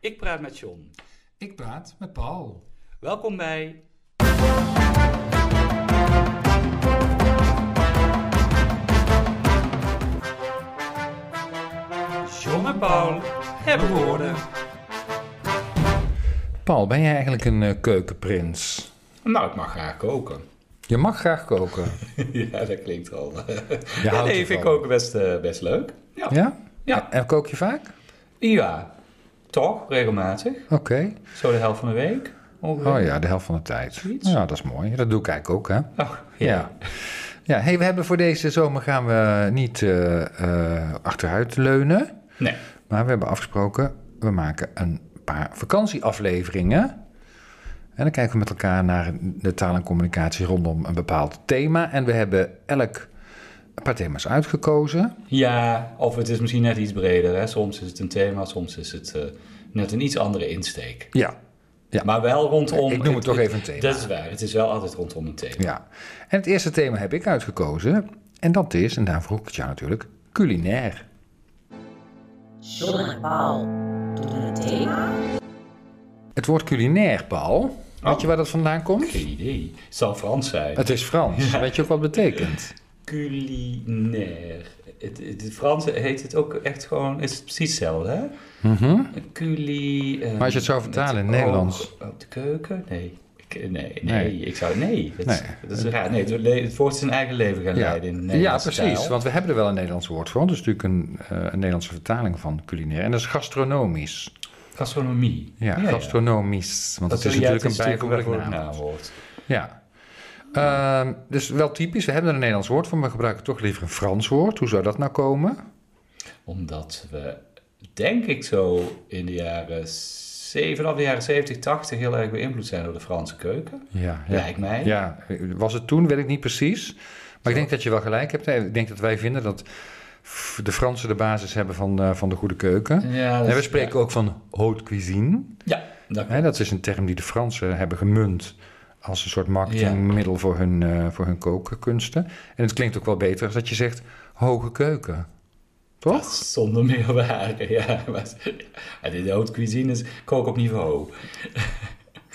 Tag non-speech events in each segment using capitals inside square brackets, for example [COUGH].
Ik praat met John. Ik praat met Paul. Welkom bij. John en Paul hebben woorden. Paul, ben jij eigenlijk een eh, keukenprins? Nou, ik mag graag koken. [LAUGHS] Je mag graag koken. ja, dat klinkt [LAUGHS] al. Je ja, houdt nee, ervan. vind ik ook best, eh, best leuk. Ja. ja. Ja? Ja. En kook je vaak? toch? Regelmatig. Oké. Zo de helft van de week. ongeveer. Oh ja, de helft van de tijd. Zoiets. Ja, dat is mooi. Dat doe ik eigenlijk ook, hè? Ach, Oh, ja. Ja. Ja, hey, we hebben voor deze zomer gaan we niet eh, eh, achteruit leunen. Nee. Maar we hebben afgesproken, we maken een paar vakantieafleveringen. En dan kijken we met elkaar naar de taal en communicatie rondom een bepaald thema. En we hebben elk een paar thema's uitgekozen. Ja, of het is misschien net iets breder. Hè? Soms is het een thema, soms is het eh, net een iets andere insteek. Ja, Ja. Maar wel rondom... Ik noem het toch even een thema. Dat is waar. Het is wel altijd rondom een thema. Ja, en het eerste thema heb ik uitgekozen. En dat is, en daar vroeg ik het jou natuurlijk, culinair. John en Paul doen een thema. Het woord culinair, Paul, weet je waar dat vandaan komt? Geen idee. Het zal Frans zijn. Het is Frans. Weet je ook wat het betekent? culinair. Het, het, het Frans heet het ook echt gewoon, is het precies hetzelfde, hè? Mhm. Culi. eh, Maar als je het zou vertalen met in Nederlands? oog Op de keuken? Nee. Ik- Nee, nee, Nee. ik zou. Nee, dat, Nee. Is, dat is raar. Nee, het, le- het woord zijn eigen leven gaan Ja. leiden in ja, Nederlands. precies. Want we hebben er wel een Nederlands woord voor. Dat is natuurlijk een, eh, een Nederlandse vertaling van culinair. En dat is gastronomisch. Gastronomie. Ja, gastronomisch. Want Dat het is natuurlijk een bijgevoeglijk bijgevoeglijk naam. naamwoord. Ja. Ehm, dus wel typisch. We hebben er een Nederlands woord voor, maar we gebruiken toch liever een Frans woord. Hoe zou dat nou komen? Omdat we, denk ik zo, in de jaren. zeven- Vanaf de jaren 70, 80 heel erg beïnvloed zijn door de Franse keuken. Ja, Lijkt mij. Ja, was het toen, weet ik niet precies. Maar ik denk dat je wel gelijk hebt. Ik denk dat wij vinden dat f- de Fransen de basis hebben van, eh, van de goede keuken. Ja, en we spreken ook van haute cuisine. Ja, dat Hè, dat is een term die de Fransen hebben gemunt als een soort marketingmiddel voor, hun, eh, voor hun kookkunsten. En het klinkt ook wel beter als dat je zegt hoge keuken. Dat Toch? is Zonder meer waar, ja. [LAUGHS] Maar, maar dit haute cuisine is kook op niveau.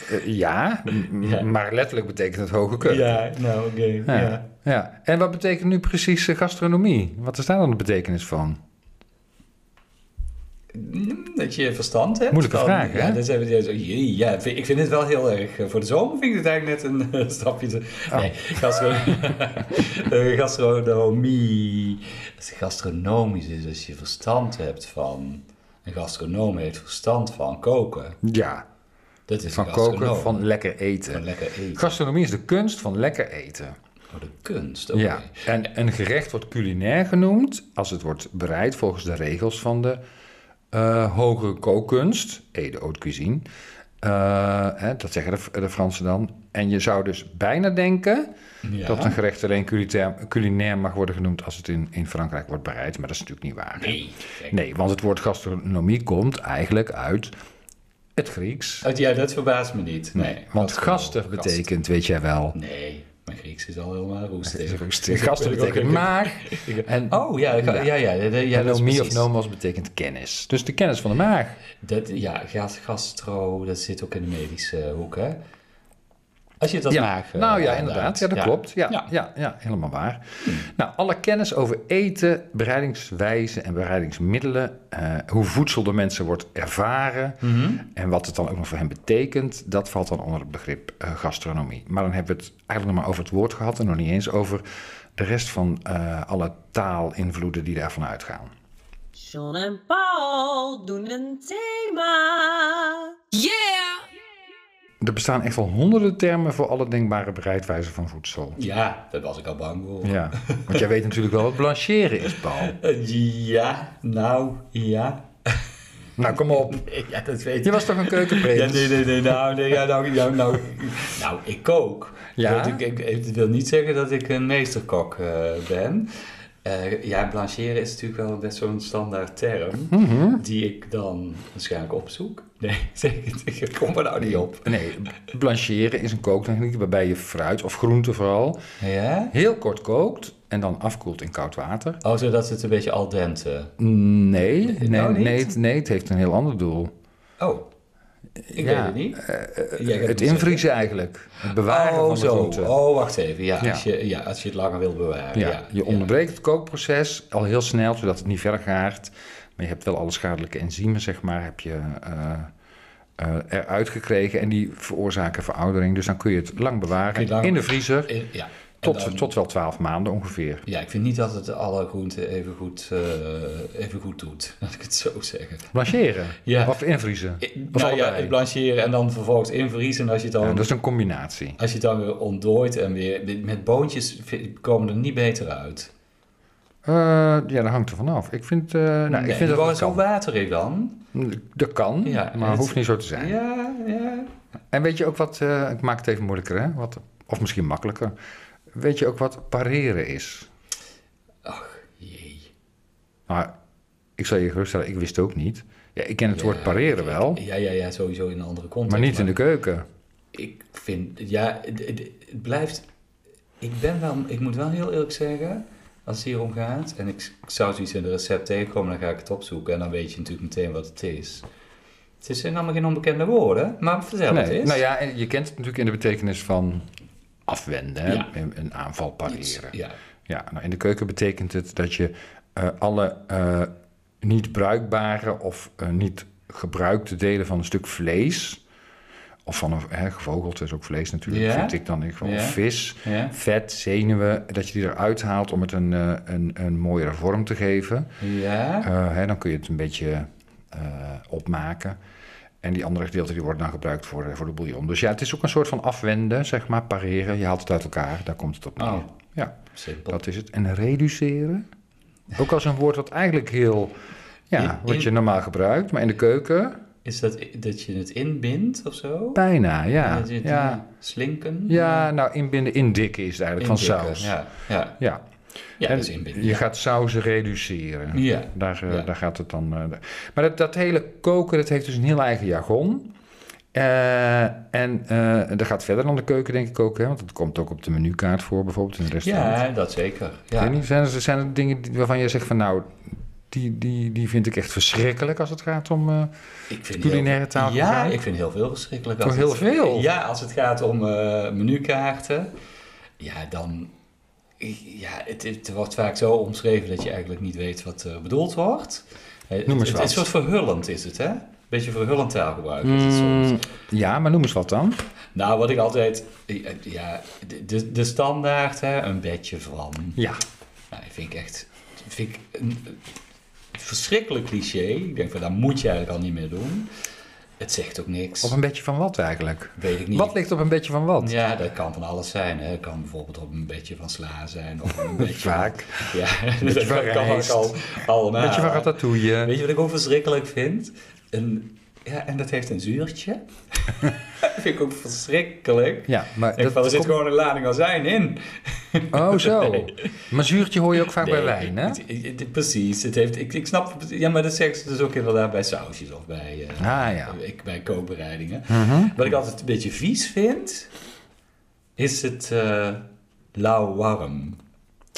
Eh, ja, m- [LAUGHS] Ja. maar letterlijk betekent het hoge keuken. Ja, nou, oké. Ja. Ja. ja. En wat betekent nu precies eh, gastronomie? Wat is daar dan de betekenis van? Mm, Dat je verstand hebt. Moeilijke dan- vraag, hè? Ja, dat hebben die zo, jee, ja, vind- ik vind het wel heel erg... eh, Voor de zomer vind ik het eigenlijk net een [LAUGHS] eh, stapje te... Oh. Nee, gastro [LAUGHS] eh, gastronomie... Als het gastronomisch is als je verstand hebt van... Een gastronoom heeft verstand van koken. Ja, Dat is Van een gastronoom. koken, van lekker Van eten. lekker eten. Gastronomie is de kunst van lekker eten. Oh, de kunst, oké. Ja. En een gerecht wordt culinair genoemd als het wordt bereid volgens de regels van de eh, hogere kookkunst, Ede Haute Cuisine. Eh, hè, dat zeggen de, de Fransen dan. En je zou dus bijna denken Ja. dat een gerecht alleen culinair, culinair mag worden genoemd als het in, in Frankrijk wordt bereid. Maar dat is natuurlijk niet waar. Nee, gek. Nee, want het woord gastronomie komt eigenlijk uit het Grieks. Oh, ja, dat verbaast me niet. Nee, Want Gasten- gasten betekent, weet jij wel, gasten. Nee, mijn Grieks is al helemaal [LAUGHS] roestig. [LAUGHS] Gasten betekent maag. En Oh ja, ga- ja, ja, ja, ja, ja dat is nomie of precies. nomos betekent kennis. Dus de kennis van de maag. Dat, ja, gas- gastro, dat zit ook in de medische hoek, hè? Als je dat ja. maag... eh, nou ja, aanduidt. inderdaad. Ja, dat klopt. Ja, ja. Ja, helemaal waar. Hmm. Nou, alle kennis over eten, bereidingswijze en bereidingsmiddelen, eh, hoe voedsel door mensen wordt ervaren Mhm. en wat het dan ook nog voor hen betekent, dat valt dan onder het begrip eh, gastronomie. Maar dan hebben we het eigenlijk nog maar over het woord gehad en nog niet eens over de rest van eh, alle taalinvloeden die daarvan uitgaan. John en Paul doen een thema. Er bestaan echt wel honderden termen voor alle denkbare bereidwijzen van voedsel. Ja, daar was ik al bang voor. Ja, want jij weet natuurlijk wel wat blancheren is, Paul. Eh, Ja, nou, ja. Nou, kom op. Ja, dat weet Je ik. was toch een keukenprins? Ja, nee, nee, nee, nou, nee, ja, nou, nou, nou, nou, ik kook. Ja? Dat Ik, ik, het wil niet zeggen dat ik een meesterkok eh, ben. Eh, ja, blancheren is natuurlijk wel best zo'n standaard term, Mhm. die ik dan waarschijnlijk opzoek. Nee, [LAUGHS] zeg het, ik kom er nou niet op. Nee, blancheren is een kooktechniek waarbij je fruit of groente vooral Ja? heel kort kookt en dan afkoelt in koud water. Oh, zodat het een beetje al dente. Nee, nee, nou niet? nee, het- nee, het heeft een heel ander doel. Oh, ik Ja, Eh, weet het niet. Jij gaat Het me invriezen eigenlijk. Het bewaren zeggen. Oh, van de zo. groente. Oh, wacht even. Ja, Ja. Als je, ja, als je het langer wil bewaren. Ja, Ja, je onderbreekt het kookproces al heel snel, zodat het niet verder gaart. Maar je hebt wel alle schadelijke enzymen, zeg maar, heb je eh, eh, eruit gekregen. En die veroorzaken veroudering. Dus dan kun je het lang bewaren Kun je het lang- in de vriezer. Ja. Eh, ja. En tot, dan- tot wel twaalf maanden ongeveer. Ja, ik vind niet dat het alle groenten even goed, eh, even goed doet. [LAUGHS] Laat ik het zo zeggen. Blancheren Ja. of invriezen. Ik- Of nou ja, allebei. het blancheren en dan vervolgens invriezen. En als je het dan, Ja, dus- dat is een combinatie. als je het dan weer ontdooit en weer... Met boontjes vi- komen er niet beter uit. Eh, ja, dat hangt er vanaf. Ik vind, eh, nou, ik Nee, vind die dat worden dat zo kan. waterig dan. Dat kan, Ja, maar het- hoeft niet zo te zijn. Ja, ja. En weet je ook wat, eh, ik maak het even moeilijker, hè? Wat, of misschien makkelijker. Weet je ook wat pareren is? Ach, jee. Maar Nou, ik zal je geruststellen, ik wist het ook niet. Ja, ik ken het Ja, woord pareren wel, Ja, ja, ja, sowieso in een andere context. Oh. maar niet in de keuken. Ik vind, ja, het, het- het blijft. Ik ben wel, ik moet wel heel eerlijk zeggen, als het hier om gaat en ik, ik zou zoiets in een recept tegenkomen, dan ga ik het opzoeken en dan weet je natuurlijk meteen wat het is. Het is- zijn allemaal geen onbekende woorden, maar vertel het Nee, eens. nou ja, en je kent het natuurlijk in de betekenis van afwenden, hè? Ja. Een, een aanval Iets- pareren. ja. Ja, nou, in de keuken betekent het dat je eh, alle eh, niet bruikbare of eh, niet gebruikte delen van een stuk vlees, of van een hè, gevogelte is ook vlees natuurlijk, Ja. vind ik dan in ieder geval, Ja. of vis, Ja. vet, zenuwen, dat je die eruit haalt om het een, eh, een, een mooiere vorm te geven. Ja. Eh, hè, dan kun je het een beetje eh, opmaken. En die andere gedeelten die worden dan gebruikt voor, eh, voor de bouillon. Dus ja, het is ook een soort van afwenden, zeg maar, pareren. Je haalt het uit elkaar, daar komt het op neer. Oh. Ja. Simpel. Dat is het. En reduceren. Ook als een woord wat eigenlijk heel. Ja, In- wat je normaal gebruikt, maar in de keuken. Is dat dat je het inbindt of zo? Bijna, ja. Dat je het Ja, eh, slinken? ja nou, inbinden, indikken is het eigenlijk van Indikken, saus. Ja, Ja, ja. ja. ja En dat is inbinden. je gaat sauzen reduceren. Ja. Daar, eh, Ja. daar gaat het dan. eh, de- maar dat, dat hele koken, dat heeft dus een heel eigen jargon. Eh, en eh dat gaat verder dan de keuken, denk ik ook. Hè? Want dat komt ook op de menukaart voor, bijvoorbeeld in de restaurant. Ja, dat zeker. Ik Ja. weet niet, zijn er, zijn er dingen die- waarvan jij zegt van nou, die, die, die vind ik echt verschrikkelijk als het gaat om... eh, Ik vind Culinaire heel- tafel Ja, gaan? ik vind heel veel verschrikkelijk. Oh, heel het- veel? Ja, als het gaat om eh, menukaarten. Ja, dan... Ja, het, het wordt vaak zo omschreven dat je eigenlijk niet weet wat eh, bedoeld wordt. Eh, eens het, het, wat. is soort verhullend is het, hè? Beetje verhullend taalgebruik is het Mm. soms. ja, maar noem eens wat dan. Nou, wat ik altijd... eh, eh, Ja, de- de, de standaard, hè? Een bedje van. Ja. Nou, dat vind ik echt dat vind ik een, een verschrikkelijk cliché. Ik denk van, dat moet je eigenlijk al niet meer doen. Het zegt ook niks. Op een bedje van wat eigenlijk? Weet ik niet. Wat ligt op een bedje van wat? Ja, dat kan van alles zijn. Hè. Het kan bijvoorbeeld op een bedje van sla zijn. Of [LAUGHS] een beetje, Vaak. Ja, [LAUGHS] Beetje dat van kan, kan ook rijst. al, allemaal. Een bedje van ratatouille. Weet je wat ik ook verschrikkelijk vind? Een, ja, en dat heeft een zuurtje. [LAUGHS] dat vind ik ook verschrikkelijk. Ja, maar Ik denk dat, van, er dat zit komt- gewoon een lading azijn in. [LAUGHS] Oh, zo. Maar zuurtje hoor je ook vaak bij Nee, wijn, hè? het- het- het- precies. Het heeft, ik, ik snap, ja, maar dat zeggen ze dus ook inderdaad bij sausjes of bij, eh, Ah, ja. Mhm. ik, bij kookbereidingen. Wat ik altijd een beetje vies vind, is het eh, lauw warm.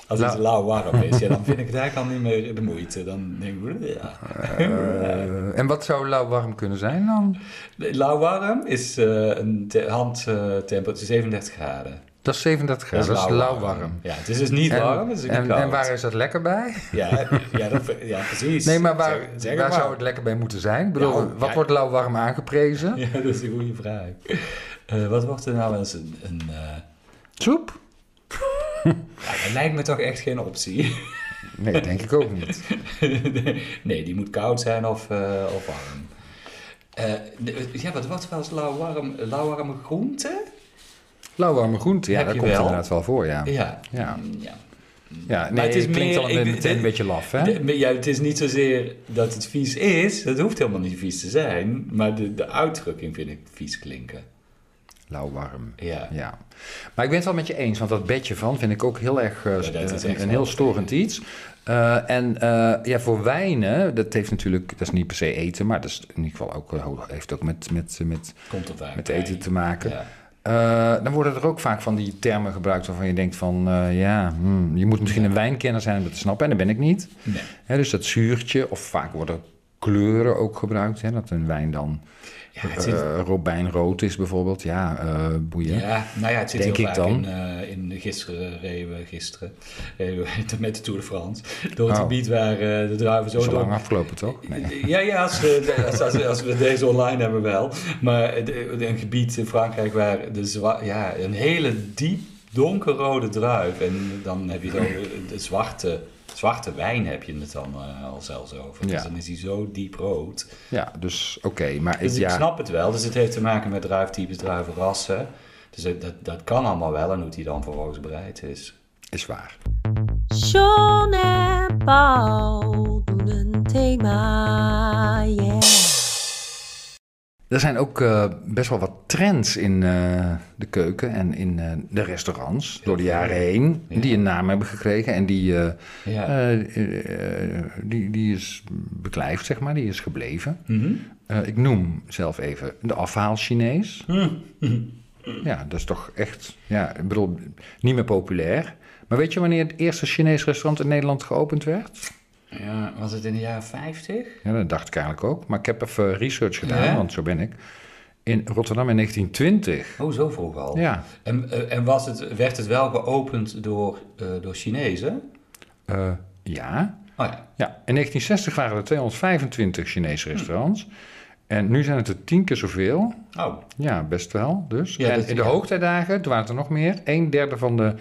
Als het Lau- lauw warm is, ja, dan vind [LAUGHS] ik het eigenlijk al niet meer de moeite. Dan denk ik, "Bleh, ja. Eh, en wat zou lauw warm kunnen zijn dan? Lauw warm is eh, een te- handtemperatuur 37 graden. Dat is 37 graden, dat dus is lauw warm. Ja, het is dus niet En, warm, het is ook niet en, koud. en waar is dat lekker bij? Ja, ja, dat, ja, precies. Nee, maar Zeg- waar, zeg het waar maar. Nou, zou het lekker bij moeten zijn? Ik bedoel, Ja, wat ja. wordt lauw warm aangeprezen? [LAUGHS] Ja, dat is een goede vraag. Eh, wat wordt er nou wel eens een... een eh, Soep? ja, dat lijkt me toch echt geen optie. Nee, dat denk ik ook niet. [LAUGHS] nee, die moet koud zijn of, eh, of warm. Eh, de- ja, wat wordt er wel eens lauw warm, lauw warme groente? Lauwwarme groente, ja, Heb dat je komt wel. inderdaad wel voor, ja. Ja. Ja. ja. ja nee, het het is klinkt meer- al ik- meteen dit- een beetje laf, hè? De- maar ja, het is niet zozeer dat het vies is. Dat hoeft helemaal niet vies te zijn. Maar de, de uitdrukking vind ik vies klinken. Lauwwarm. Ja. Ja. Maar ik ben het wel met je eens, want dat bedje van vind ik ook heel erg eh, dat is echt een, wel een heel storend iets. Eh, en eh, ja, voor wijnen, dat heeft natuurlijk, dat is niet per se eten, maar dat is in ieder geval ook, eh, heeft ook met, met, met, Komt er vaak met bij. eten te maken. Ja. Eh, dan worden er ook vaak van die termen gebruikt waarvan je denkt van, eh, ja, hmm, je moet misschien een wijnkenner zijn om dat te snappen. En dat ben ik niet. Nee. Hè, dus dat zuurtje, of vaak worden kleuren ook gebruikt. Hè? Dat een wijn dan Ja, het eh zit- robijnrood is bijvoorbeeld. Ja, eh, boeien. Ja, nou ja, het zit Denk heel ik vaak in, dan. eh, in de gisteren reden we, gisteren reden we [LAUGHS] met de Tour de France, door het Oh. gebied waar eh, de druiven zo Zo door... lang afgelopen toch? Nee. Ja, ja als, we, [LAUGHS] als, als, als we deze online hebben wel. Maar het- een gebied in Frankrijk waar de zwa- ja, een hele diep donkerrode druif. En dan heb je [CLEARS THROAT] het over de zwarte, zwarte wijn heb je het dan eh, al zelfs over. Dus Ja. dan is die zo diep rood. Ja, dus oké. maar Dus ik, ik ja, snap het wel. Dus het heeft te maken met druiftypes, druivenrassen. Dus dat, dat, dat kan allemaal wel. En hoe die dan vervolgens bereid is. is waar. Sean en Paul doen een thema. Yeah. Er zijn ook eh, best wel wat trends in eh, de keuken en in eh, de restaurants door de jaren heen. Ja. Die een naam hebben gekregen en die, eh, Ja. eh, eh, die, die is beklijfd, zeg maar. Die is gebleven. Mhm. Eh, ik noem zelf even de afhaal Chinees. Hm. [LAUGHS] Ja, dat is toch echt, ja, ik bedoel, niet meer populair. Maar weet je wanneer het eerste Chinees restaurant in Nederland geopend werd? ja, was het in de jaren 50? Ja, dat dacht ik eigenlijk ook. Maar ik heb even research gedaan, Ja? want zo ben ik. In Rotterdam in 1920. Oh, zo vroeg al. Ja, En, eh, en was het, werd het wel geopend door, eh, door Chinezen? eh, ja. Oh ja. Ja, in 1960 waren er 225 Chinese restaurants. En nu zijn het er tien keer zoveel. Oh, Ja, best wel. Dus. Ja, en dat- in de ja. hoogtijdagen, toen waren het er nog meer. Een derde van de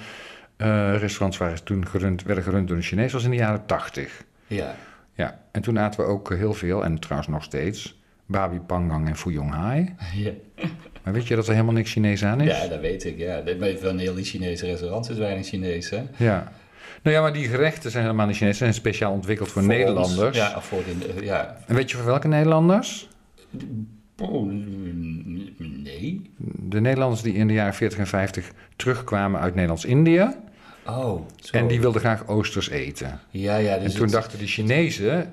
eh, restaurants waren toen gerund, werden gerund door de Chinezen was in de jaren 80. [LAUGHS] ja. Ja, en toen aten we ook eh, heel veel, en trouwens nog steeds, Babi Pangang en Fuyong Hai. ja. Maar weet je dat er helemaal niks Chinees aan is? Ja, dat weet ik. Ja. Dat- maar Van heel die Chinese restaurants is weinig Chinees, hè? Ja. Nou ja, maar die gerechten zijn helemaal niet Chinees. Ze zijn speciaal ontwikkeld voor, Voor ons. Nederlanders. Ja, of voor de, eh, ja. En weet je voor welke Nederlanders? Oh, mm, nee. De Nederlanders die in de jaren 40 en 50 terugkwamen uit Nederlands-Indië. Oh, zo. En die wilden graag oosters eten. Ja, ja. Dus En toen het- dachten de Chinezen,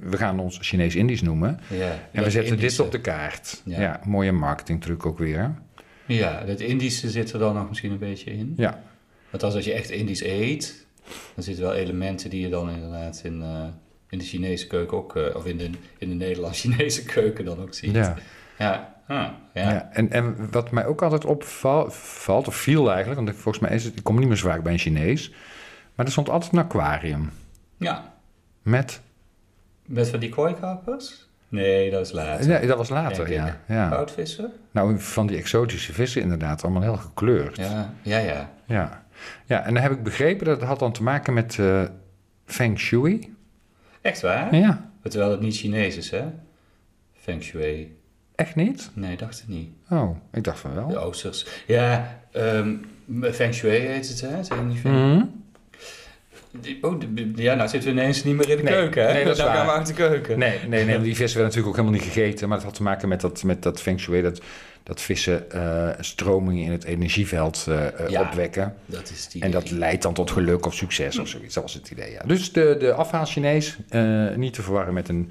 we gaan ons Chinees-Indisch noemen. Ja, En we dat zetten dit Indische. op de kaart. Ja. Ja, mooie marketingtruc ook weer. Ja, dat Indische zit er dan nog misschien een beetje in. Ja, Want als je echt Indisch eet, dan zitten wel elementen die je dan inderdaad in, eh, in de Chinese keuken ook, eh, of in de, in de [LAUGHS] Nederlands-Chinese keuken dan ook ziet. ja. Ja, ah, ja. ja. En, en wat mij ook altijd opvalt, of viel eigenlijk, want ik, volgens mij is het, ik kom niet meer zo vaak bij een Chinees. Maar er stond altijd een aquarium Ja. met. Met van die kooikappers? Nee, dat is later. Ja, dat was later, Denk ja. ik. ja. Goudvissen? Nou, van die exotische vissen inderdaad, allemaal heel gekleurd. Ja, ja, ja. Ja, ja en dan heb ik begrepen dat het had dan te maken met eh, Feng Shui. Echt waar? Ja, Terwijl het niet Chinees is, hè? Feng Shui. echt niet? Nee, dacht het niet. Oh, ik dacht van wel. De Oosters. Ja, ehm, Feng Shui heet het, hè? Zeg ik niet Feng- Mhm. Die- Oh, de- de- ja, nou zitten we ineens niet meer in de Mm. Nee, keuken, hè? nee, dat is nou waar. gaan we uit de keuken. Nee, nee, nee, want die vissen werden natuurlijk ook helemaal niet gegeten. Maar het had te maken met dat, met dat Feng Shui, dat, dat vissen eh, stromingen in het energieveld eh, eh, Ja. opwekken. Dat is die. En dat leidt dan tot geluk of succes of zoiets. Dat was het idee, ja. Dus de, de afhaal Chinees, eh, niet te verwarren met een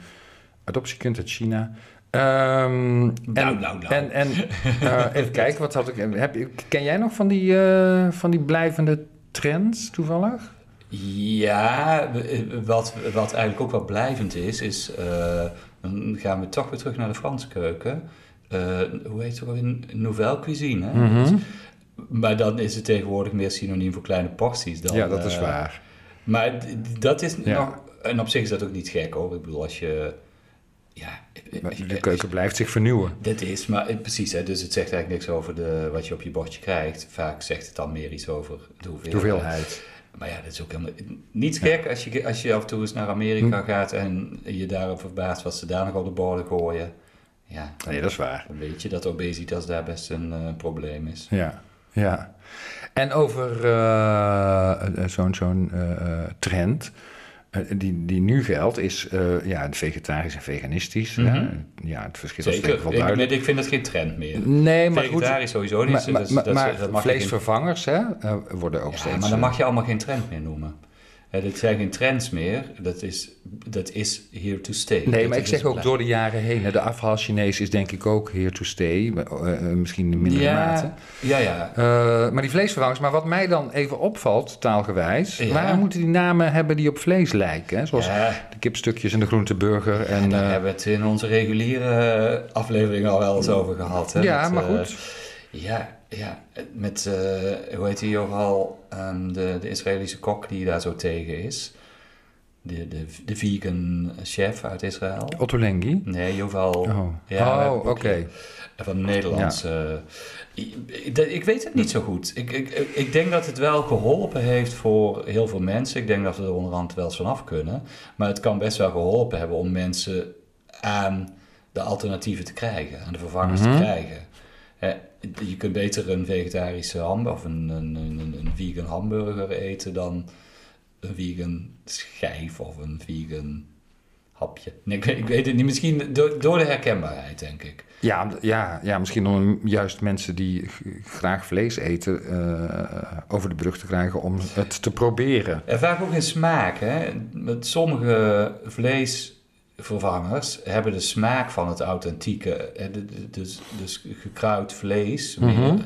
adoptiekind uit China. Ehm, Nou, nou, nou. En, en eh, even kijken, wat had ik, heb, ik- ken jij nog van die, eh, van die blijvende trends toevallig? Ja, w- wat, wat eigenlijk ook wel blijvend is, is. eh, dan gaan we toch weer terug naar de Franse keuken. Eh, hoe heet het ook alweer? Nouvelle cuisine. Hè? Mhm. Maar dan is het tegenwoordig meer synoniem voor kleine porties dan. ja, dat is eh, waar. Maar d- d- dat is Ja. nog. En op zich is dat ook niet gek hoor. Ik bedoel, als je. Ja, eh, Maar eh, De keuken blijft zich vernieuwen. Dat is, maar eh, precies. Hè, dus het zegt eigenlijk niks over de, wat je op je bordje krijgt. Vaak zegt het dan meer iets over de De hoeveelheid. hoeveelheid. Maar ja, dat is ook helemaal niet gek als, je, als je af en toe eens naar Hm. Amerika gaat en je daarop verbaast wat ze daar nog op de borden gooien. Ja, dan, Nee, dat is waar. dan weet je dat obesitas daar best een eh, probleem is. Ja, ja. En over eh, eh, zo'n zo'n, eh, eh, trend eh, die, die nu geldt, is eh, ja, het vegetarisch en veganistisch. ja, ja, het verschil is denk ik wel Mhm. Zeker. Ik, duidelijk. ik vind dat geen trend meer. Nee, maar goed. Vegetarisch sowieso niet. Maar, dus maar- dat, maar dat mag je geen- vleesvervangers hè, eh, worden ook Ja, steeds... maar dan eh, mag je allemaal geen trend meer noemen. Eh, dit zijn geen trends meer. Dat is, dat is here to stay. Nee, Dat maar ik is zeg ook blij- door de jaren heen. hè, De afhaal Chinees is denk ik ook here to stay. maar, eh, eh, misschien in mindere mate. Ja, ja, ja. Eh, maar die vleesvervangers. Maar wat mij dan even opvalt, taalgewijs. Ja. Waarom moeten die namen hebben die op vlees lijken? hè? Zoals Ja. de kipstukjes en de groenteburger. En, Daar eh, hebben we het in onze reguliere eh, aflevering al wel eens over gehad. Hè? ja, Met, maar eh, goed. ja, ja, met, eh, hoe heet die overal, Ehm, de, de Israëlische kok die daar zo tegen is. De, de, de vegan chef uit Israël. Otto Lengi. Nee, Joval. Oh, we hebben oh een oké. boekje Van Nederlands. eh, ik- ik, dat- ik weet het niet zo goed. Ik, ik, ik denk dat het wel geholpen heeft voor heel veel mensen. Ik denk dat we er onderhand wel eens vanaf kunnen. Maar het kan best wel geholpen hebben om mensen aan de alternatieven te krijgen. Aan de vervangers te krijgen. Eh, je kunt beter een vegetarische hamburger of een, een, een, een- een vegan hamburger eten dan een vegan schijf of een vegan hapje. Nee, ik, weet- ik weet het niet. Misschien door, door de herkenbaarheid, denk ik. Ja, om- ja, ja, misschien om juist mensen die g- graag vlees eten eh, over de brug te krijgen om het te proberen. En vaak ook in smaak. Hè? Met sommige vleesvervangers hebben de smaak van het authentieke. hè, de- de- Dus, dus gekruid vlees meer. Mhm.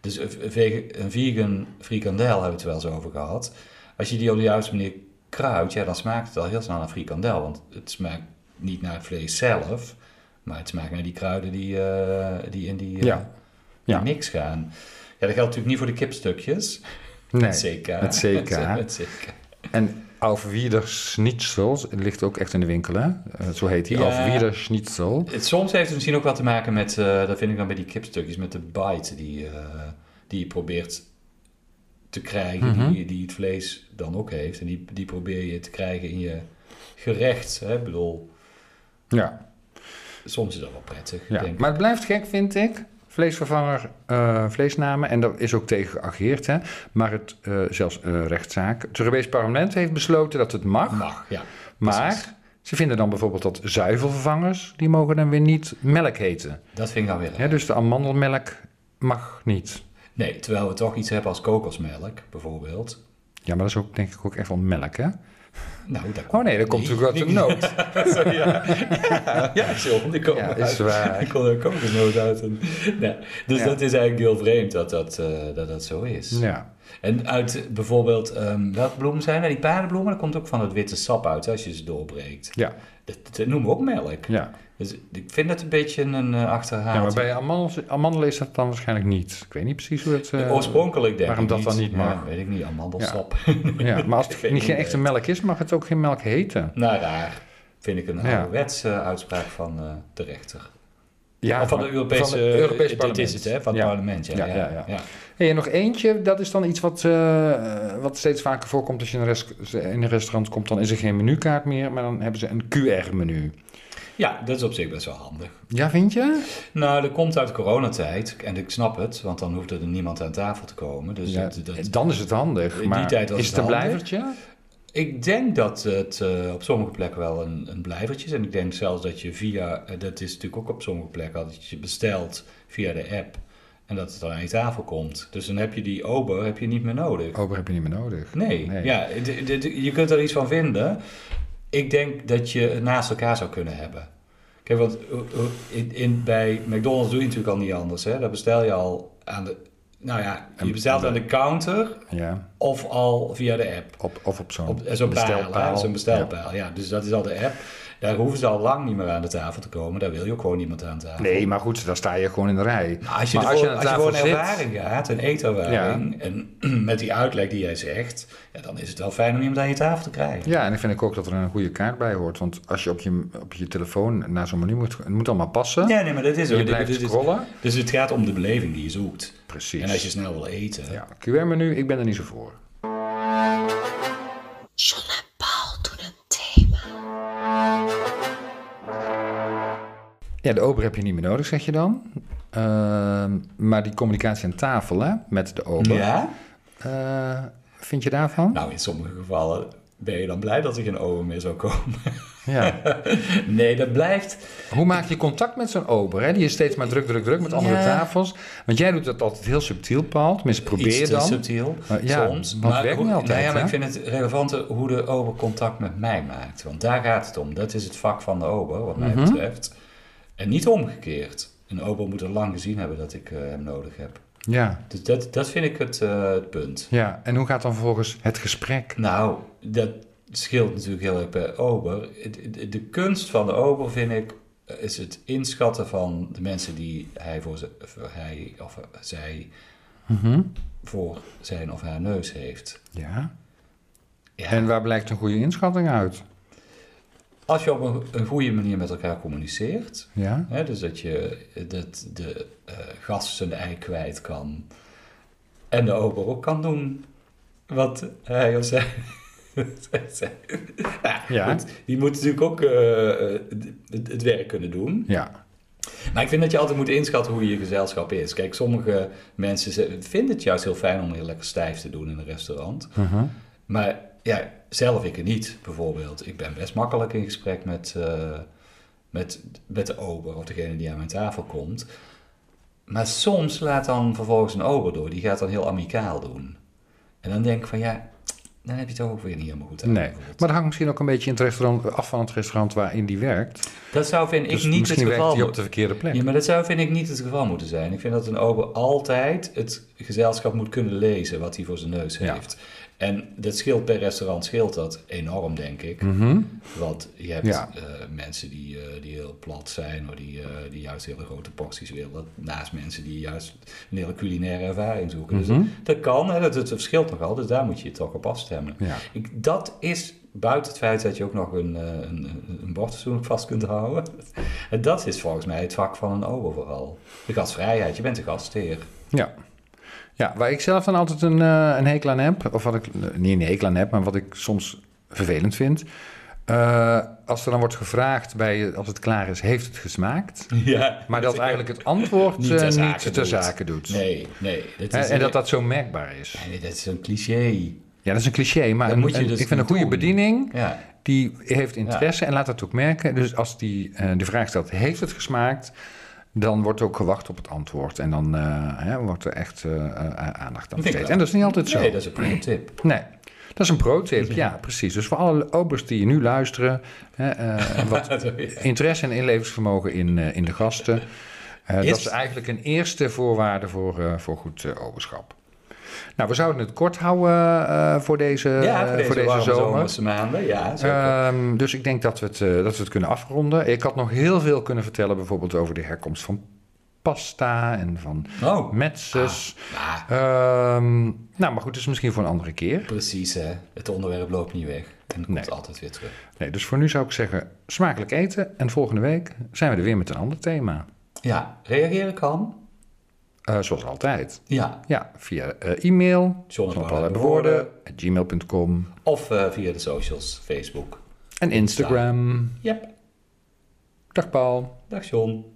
Dus een vege- een vegan frikandel hebben we het wel eens over gehad. Als je die op de juiste manier kruidt, ja, dan smaakt het al heel snel naar frikandel. Want het smaakt niet naar het vlees zelf, maar het smaakt naar die kruiden die, eh, die in die eh, Ja. Ja. mix gaan. Ja, dat geldt natuurlijk niet voor de kipstukjes. Nee. Zeker. met [LAUGHS] CK. zeker. En Aufwieder Schnitzel ligt ook echt in de winkel, hè? Eh, Zo heet die, Ja. Aufwieder Schnitzel. Het- Soms heeft het misschien ook wel te maken met, eh, dat vind ik dan bij die kipstukjes, met de bite die, eh, die je probeert te krijgen, die, Mhm. die het vlees dan ook heeft. En die, die probeer je te krijgen in je gerecht. Hè? Ik bedoel, Ja, soms is dat wel prettig. ja. denk ik. maar het blijft gek, vind ik. Vleesvervanger, eh, vleesnamen, en daar is ook tegen geageerd, hè? Maar het, eh, zelfs eh, rechtszaak. Het Europees Parlement heeft besloten dat het mag. Mag, ja. Maar ze vinden dan bijvoorbeeld dat zuivelvervangers, die mogen dan weer niet melk heten. Dat vind ik dan weer Ja, raar. dus de amandelmelk mag niet. Nee, terwijl we toch iets hebben als kokosmelk, bijvoorbeeld. Ja, maar dat is ook denk ik ook echt wel melk, hè? Nou, daar Oh nee, dat komt natuurlijk uit de nood. Sorry, [LAUGHS] ja. [LAUGHS] ja, ja, John, die komen Ja, uit. is waar. Ik kon er ook een nood uit. En, nee. Dus Ja. dat is eigenlijk heel vreemd dat dat, eh, dat, dat zo is. Ja. En uit bijvoorbeeld, ehm welke bloemen zijn er? Die paardenbloemen, dat komt ook van het witte sap uit hè, als je ze doorbreekt. Ja, Dat, dat noemen we ook melk. ja. Dus ik vind dat een beetje een eh achterhaald. ja maar bij amandels, amandelen is dat dan waarschijnlijk niet. Ik weet niet precies hoe het... eh, Oorspronkelijk denk waarom ik dat dan niet Ja, mag? weet ik niet, amandelsap. Ja, maar als Ik het weet niet niet, geen echte melk is, mag het ook geen melk heten. [LAUGHS] nou, raar. Vind ik een Ja. ouderwetse uitspraak van eh, de rechter. Ja, Of van de maar- Europese, van het Europees Dit is Parlement. het, hè? Van het Ja. parlement, ja. Ja, ja, ja, ja. Hey, en nog eentje, dat is dan iets wat, eh, wat steeds vaker voorkomt als je in een, res- in een restaurant komt. Dan is er geen menukaart meer, maar dan hebben ze een QR-menu. Ja, dat is op zich best wel handig. Ja, vind je? Nou, dat komt uit coronatijd. En ik snap het, want dan hoefde er niemand aan tafel te komen. Dus Ja, dat, dat- dan is het handig. In die Maar tijd was is het het een handig. blijvertje? Ik denk dat het eh, op sommige plekken wel een, een blijvertje is. En ik denk zelfs dat je via, eh, dat is natuurlijk ook op sommige plekken, al, dat je bestelt via de app en dat het dan aan je tafel komt. Dus dan heb je die ober heb je niet meer nodig. Ober heb je niet meer nodig. Oh, Nee, Nee. Ja, d- d- d- je kunt er iets van vinden. Ik denk dat je het naast elkaar zou kunnen hebben. Kijk, want eh, eh, in, in, bij McDonald's doe je natuurlijk al niet anders. Hè? Daar bestel je al aan de, nou ja, je En- bestelt aan de counter Ja, of al via de app. op, of op zo'n Op eh, zo'n bestelpaal. bestelpaal. zo'n bestelpaal. Ja. dus dat is al de app. Daar hoeven ze al lang niet meer aan de tafel te komen. Daar wil je ook gewoon niemand aan tafel. Ja. Nee, maar goed, daar sta je gewoon in de rij. Maar als je, maar ervoor- als je, aan de gewoon een tafel zit- ervaring gaat, een eetervaring, en [CLEARS THROAT] met die uitleg die jij zegt, ja, dan is het wel fijn om iemand aan je tafel te krijgen. Ja, en dan vind ik ook dat er een goede kaart bij hoort. Want als je op je, op je telefoon naar zo'n menu moet... Het moet allemaal passen. Ja, nee, maar dat is ook. je dit- blijft dit is- scrollen. dus het gaat om de beleving die je zoekt. Precies. En als je snel wil eten. Ja, QR-menu, ik ben er niet zo voor. John en Paul doen een thema. Ja, de ober heb je niet meer nodig, zeg je dan. Ehm, maar die communicatie aan tafel, hè, met de ober. Ja? eh, vind je daarvan? Nou, in sommige gevallen ben je dan blij dat er geen oven meer zou komen. Ja. [LAUGHS] Nee, dat blijft. [LAUGHS] Hoe maak je contact met zo'n ober? Hè? Die is steeds maar druk, druk, druk met andere Ja. tafels. Want jij doet dat altijd heel subtiel, Paul. Tenminste, probeer Iets je te dan. subtiel, Eh, ja, soms. want het werkt hoe- niet altijd, nou ja, maar hè? ik vind het relevante hoe de ober contact met mij maakt. Want daar gaat het om. Dat is het vak van de ober, wat Mhm. mij betreft. En niet omgekeerd. Een ober moet al lang gezien hebben dat ik eh, hem nodig heb. Ja, Dus dat, dat vind ik het, eh, het punt. ja. En hoe gaat dan vervolgens het gesprek? Nou, dat scheelt natuurlijk heel erg per ober. De- de- De kunst van de ober, vind ik, eh, is het inschatten van de mensen die hij, voor ze- voor hij of zij Mhm. voor zijn of haar neus heeft. Ja. Ja. En waar blijkt een goede inschatting uit? Als je op een, een goede manier met elkaar communiceert, Ja. hè, dus dat je dat de eh, gast zijn ei kwijt kan en de ober ook kan doen wat hij of zij. [LAUGHS] ja, Ja. Goed, die moet natuurlijk ook eh, eh, het, het werk kunnen doen. Ja. Maar ik vind dat je altijd moet inschatten hoe je gezelschap is. Kijk, sommige mensen ze- vinden het juist heel fijn om heel lekker stijf te doen in een restaurant. Mhm. Maar ja, zelf ik er niet, bijvoorbeeld. Ik ben best makkelijk in gesprek met, eh, met, met de ober of degene die aan mijn tafel komt. Maar soms laat dan vervolgens een ober door. Die gaat dan heel amicaal doen. En dan denk ik van ja, dan heb je het ook weer niet helemaal eh, goed. Nee. Maar uitgevoerd. dat hangt misschien ook een beetje in het restaurant, af van het restaurant waarin die werkt. dat zou vind ik Dus niet het misschien werkt geval die op moeten- de verkeerde plek. Ja, maar dat zou vind ik niet het geval moeten zijn. Ik vind dat een ober altijd het gezelschap moet kunnen lezen wat hij voor zijn neus Ja. heeft. En dat scheelt per restaurant scheelt dat enorm, denk ik. Mhm. Want je hebt Ja. eh, mensen die, eh, die heel plat zijn, of die, eh, die juist hele grote porties willen. Naast mensen die juist een hele culinaire ervaring zoeken. Mhm. Dus dat kan, hè, dat, het verschilt nogal, dus daar moet je je toch op afstemmen. Ja. Ik, dat is buiten het feit dat je ook nog een, eh, een, een- een bordfatsoen vast kunt houden. [LAUGHS] En dat is volgens mij het vak van een ober vooral. De gastvrijheid, je bent de gastheer. [LAUGHS] Ja. Ja, waar ik zelf dan altijd een, eh, een hekel aan heb, of wat ik eh, niet een hekel aan heb, maar wat ik soms vervelend vind. eh, als er dan wordt gevraagd bij, eh, als het klaar is, heeft het gesmaakt? Ja. Dus Maar dat eigenlijk het antwoord Niet eh, ter niet zake ter doet. zake doet. Nee, nee. Dat Hè, is en dat dat zo merkbaar is. Nee, dat is een cliché. Ja, dat is een cliché, maar Dat een- moet je een- dus ik vind een niet goede doen. bediening, Ja. die heeft interesse en laat dat ook merken. Dus als die eh, de vraag stelt, heeft het gesmaakt? Dan wordt ook gewacht op het antwoord. En dan eh, hè, wordt er echt eh, eh, aandacht aan Vind ik besteed. wel. En dat is niet altijd zo. Nee, dat is een goede tip. [LAUGHS] Nee. Dat is een pro-tip, ja, precies. Dus voor alle obers die nu luisteren, hè, eh, [LAUGHS] wat interesse en inlevingsvermogen in, eh, in de gasten. eh, Is- Dat is eigenlijk een eerste voorwaarde voor, eh, voor goed eh, oberschap. Nou, we zouden het kort houden eh, voor deze, Ja, eh, voor deze, warme zomerse maanden. Ja, zeker. Ehm, dus ik denk dat we, het, eh, dat we het kunnen afronden. Ik had nog heel veel kunnen vertellen, bijvoorbeeld over de herkomst van pasta en van oh, metzes. maar Ehm, nou, maar goed, dat is misschien voor een andere keer. precies hè. Het onderwerp loopt niet weg. En komt Nee. altijd weer terug. Nee, dus voor nu zou ik zeggen, smakelijk eten. En volgende week zijn we er weer met een ander thema. Ja, reageren kan. Eh, zoals altijd. Ja. Ja, via eh, e-mail. John en Paul hebben Woorden. Gmail.com. Of eh, via de socials, Facebook. En Instagram. Yep. Dag Paul. Dag John.